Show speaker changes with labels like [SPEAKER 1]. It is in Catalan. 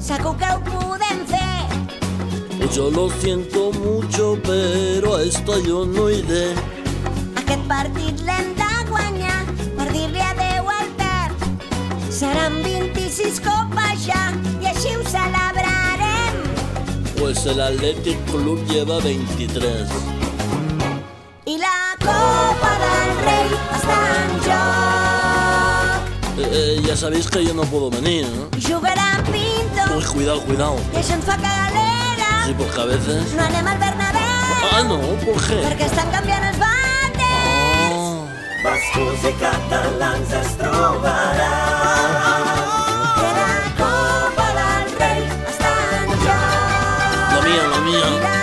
[SPEAKER 1] segur que ho podem fer.
[SPEAKER 2] Yo lo siento mucho, pero a esta yo no iré.
[SPEAKER 1] Aquest partit l'hem de guanyar per dir-li adeu al Ter. Seran 26 copes ja i així ho celebrarem.
[SPEAKER 2] Pues el Athletic Club lleva 23.
[SPEAKER 1] I la Copa del Rei està en joc.
[SPEAKER 2] Eh, eh, ya sabéis que yo no puedo venir, ¿no?
[SPEAKER 1] Jugarà Pinto
[SPEAKER 2] Uy, cuidado, cuidado.
[SPEAKER 1] i això ens fa galera.
[SPEAKER 2] Sí, porque a veces...
[SPEAKER 1] No anem al Bernabéu
[SPEAKER 2] Ah, no, ¿por qué?
[SPEAKER 1] perquè estan canviant els bates.
[SPEAKER 2] Ah,
[SPEAKER 3] Bascos i catalans es trobaran.
[SPEAKER 1] Que la Copa del Rei està en joc.
[SPEAKER 2] la mía, la mía.
[SPEAKER 1] La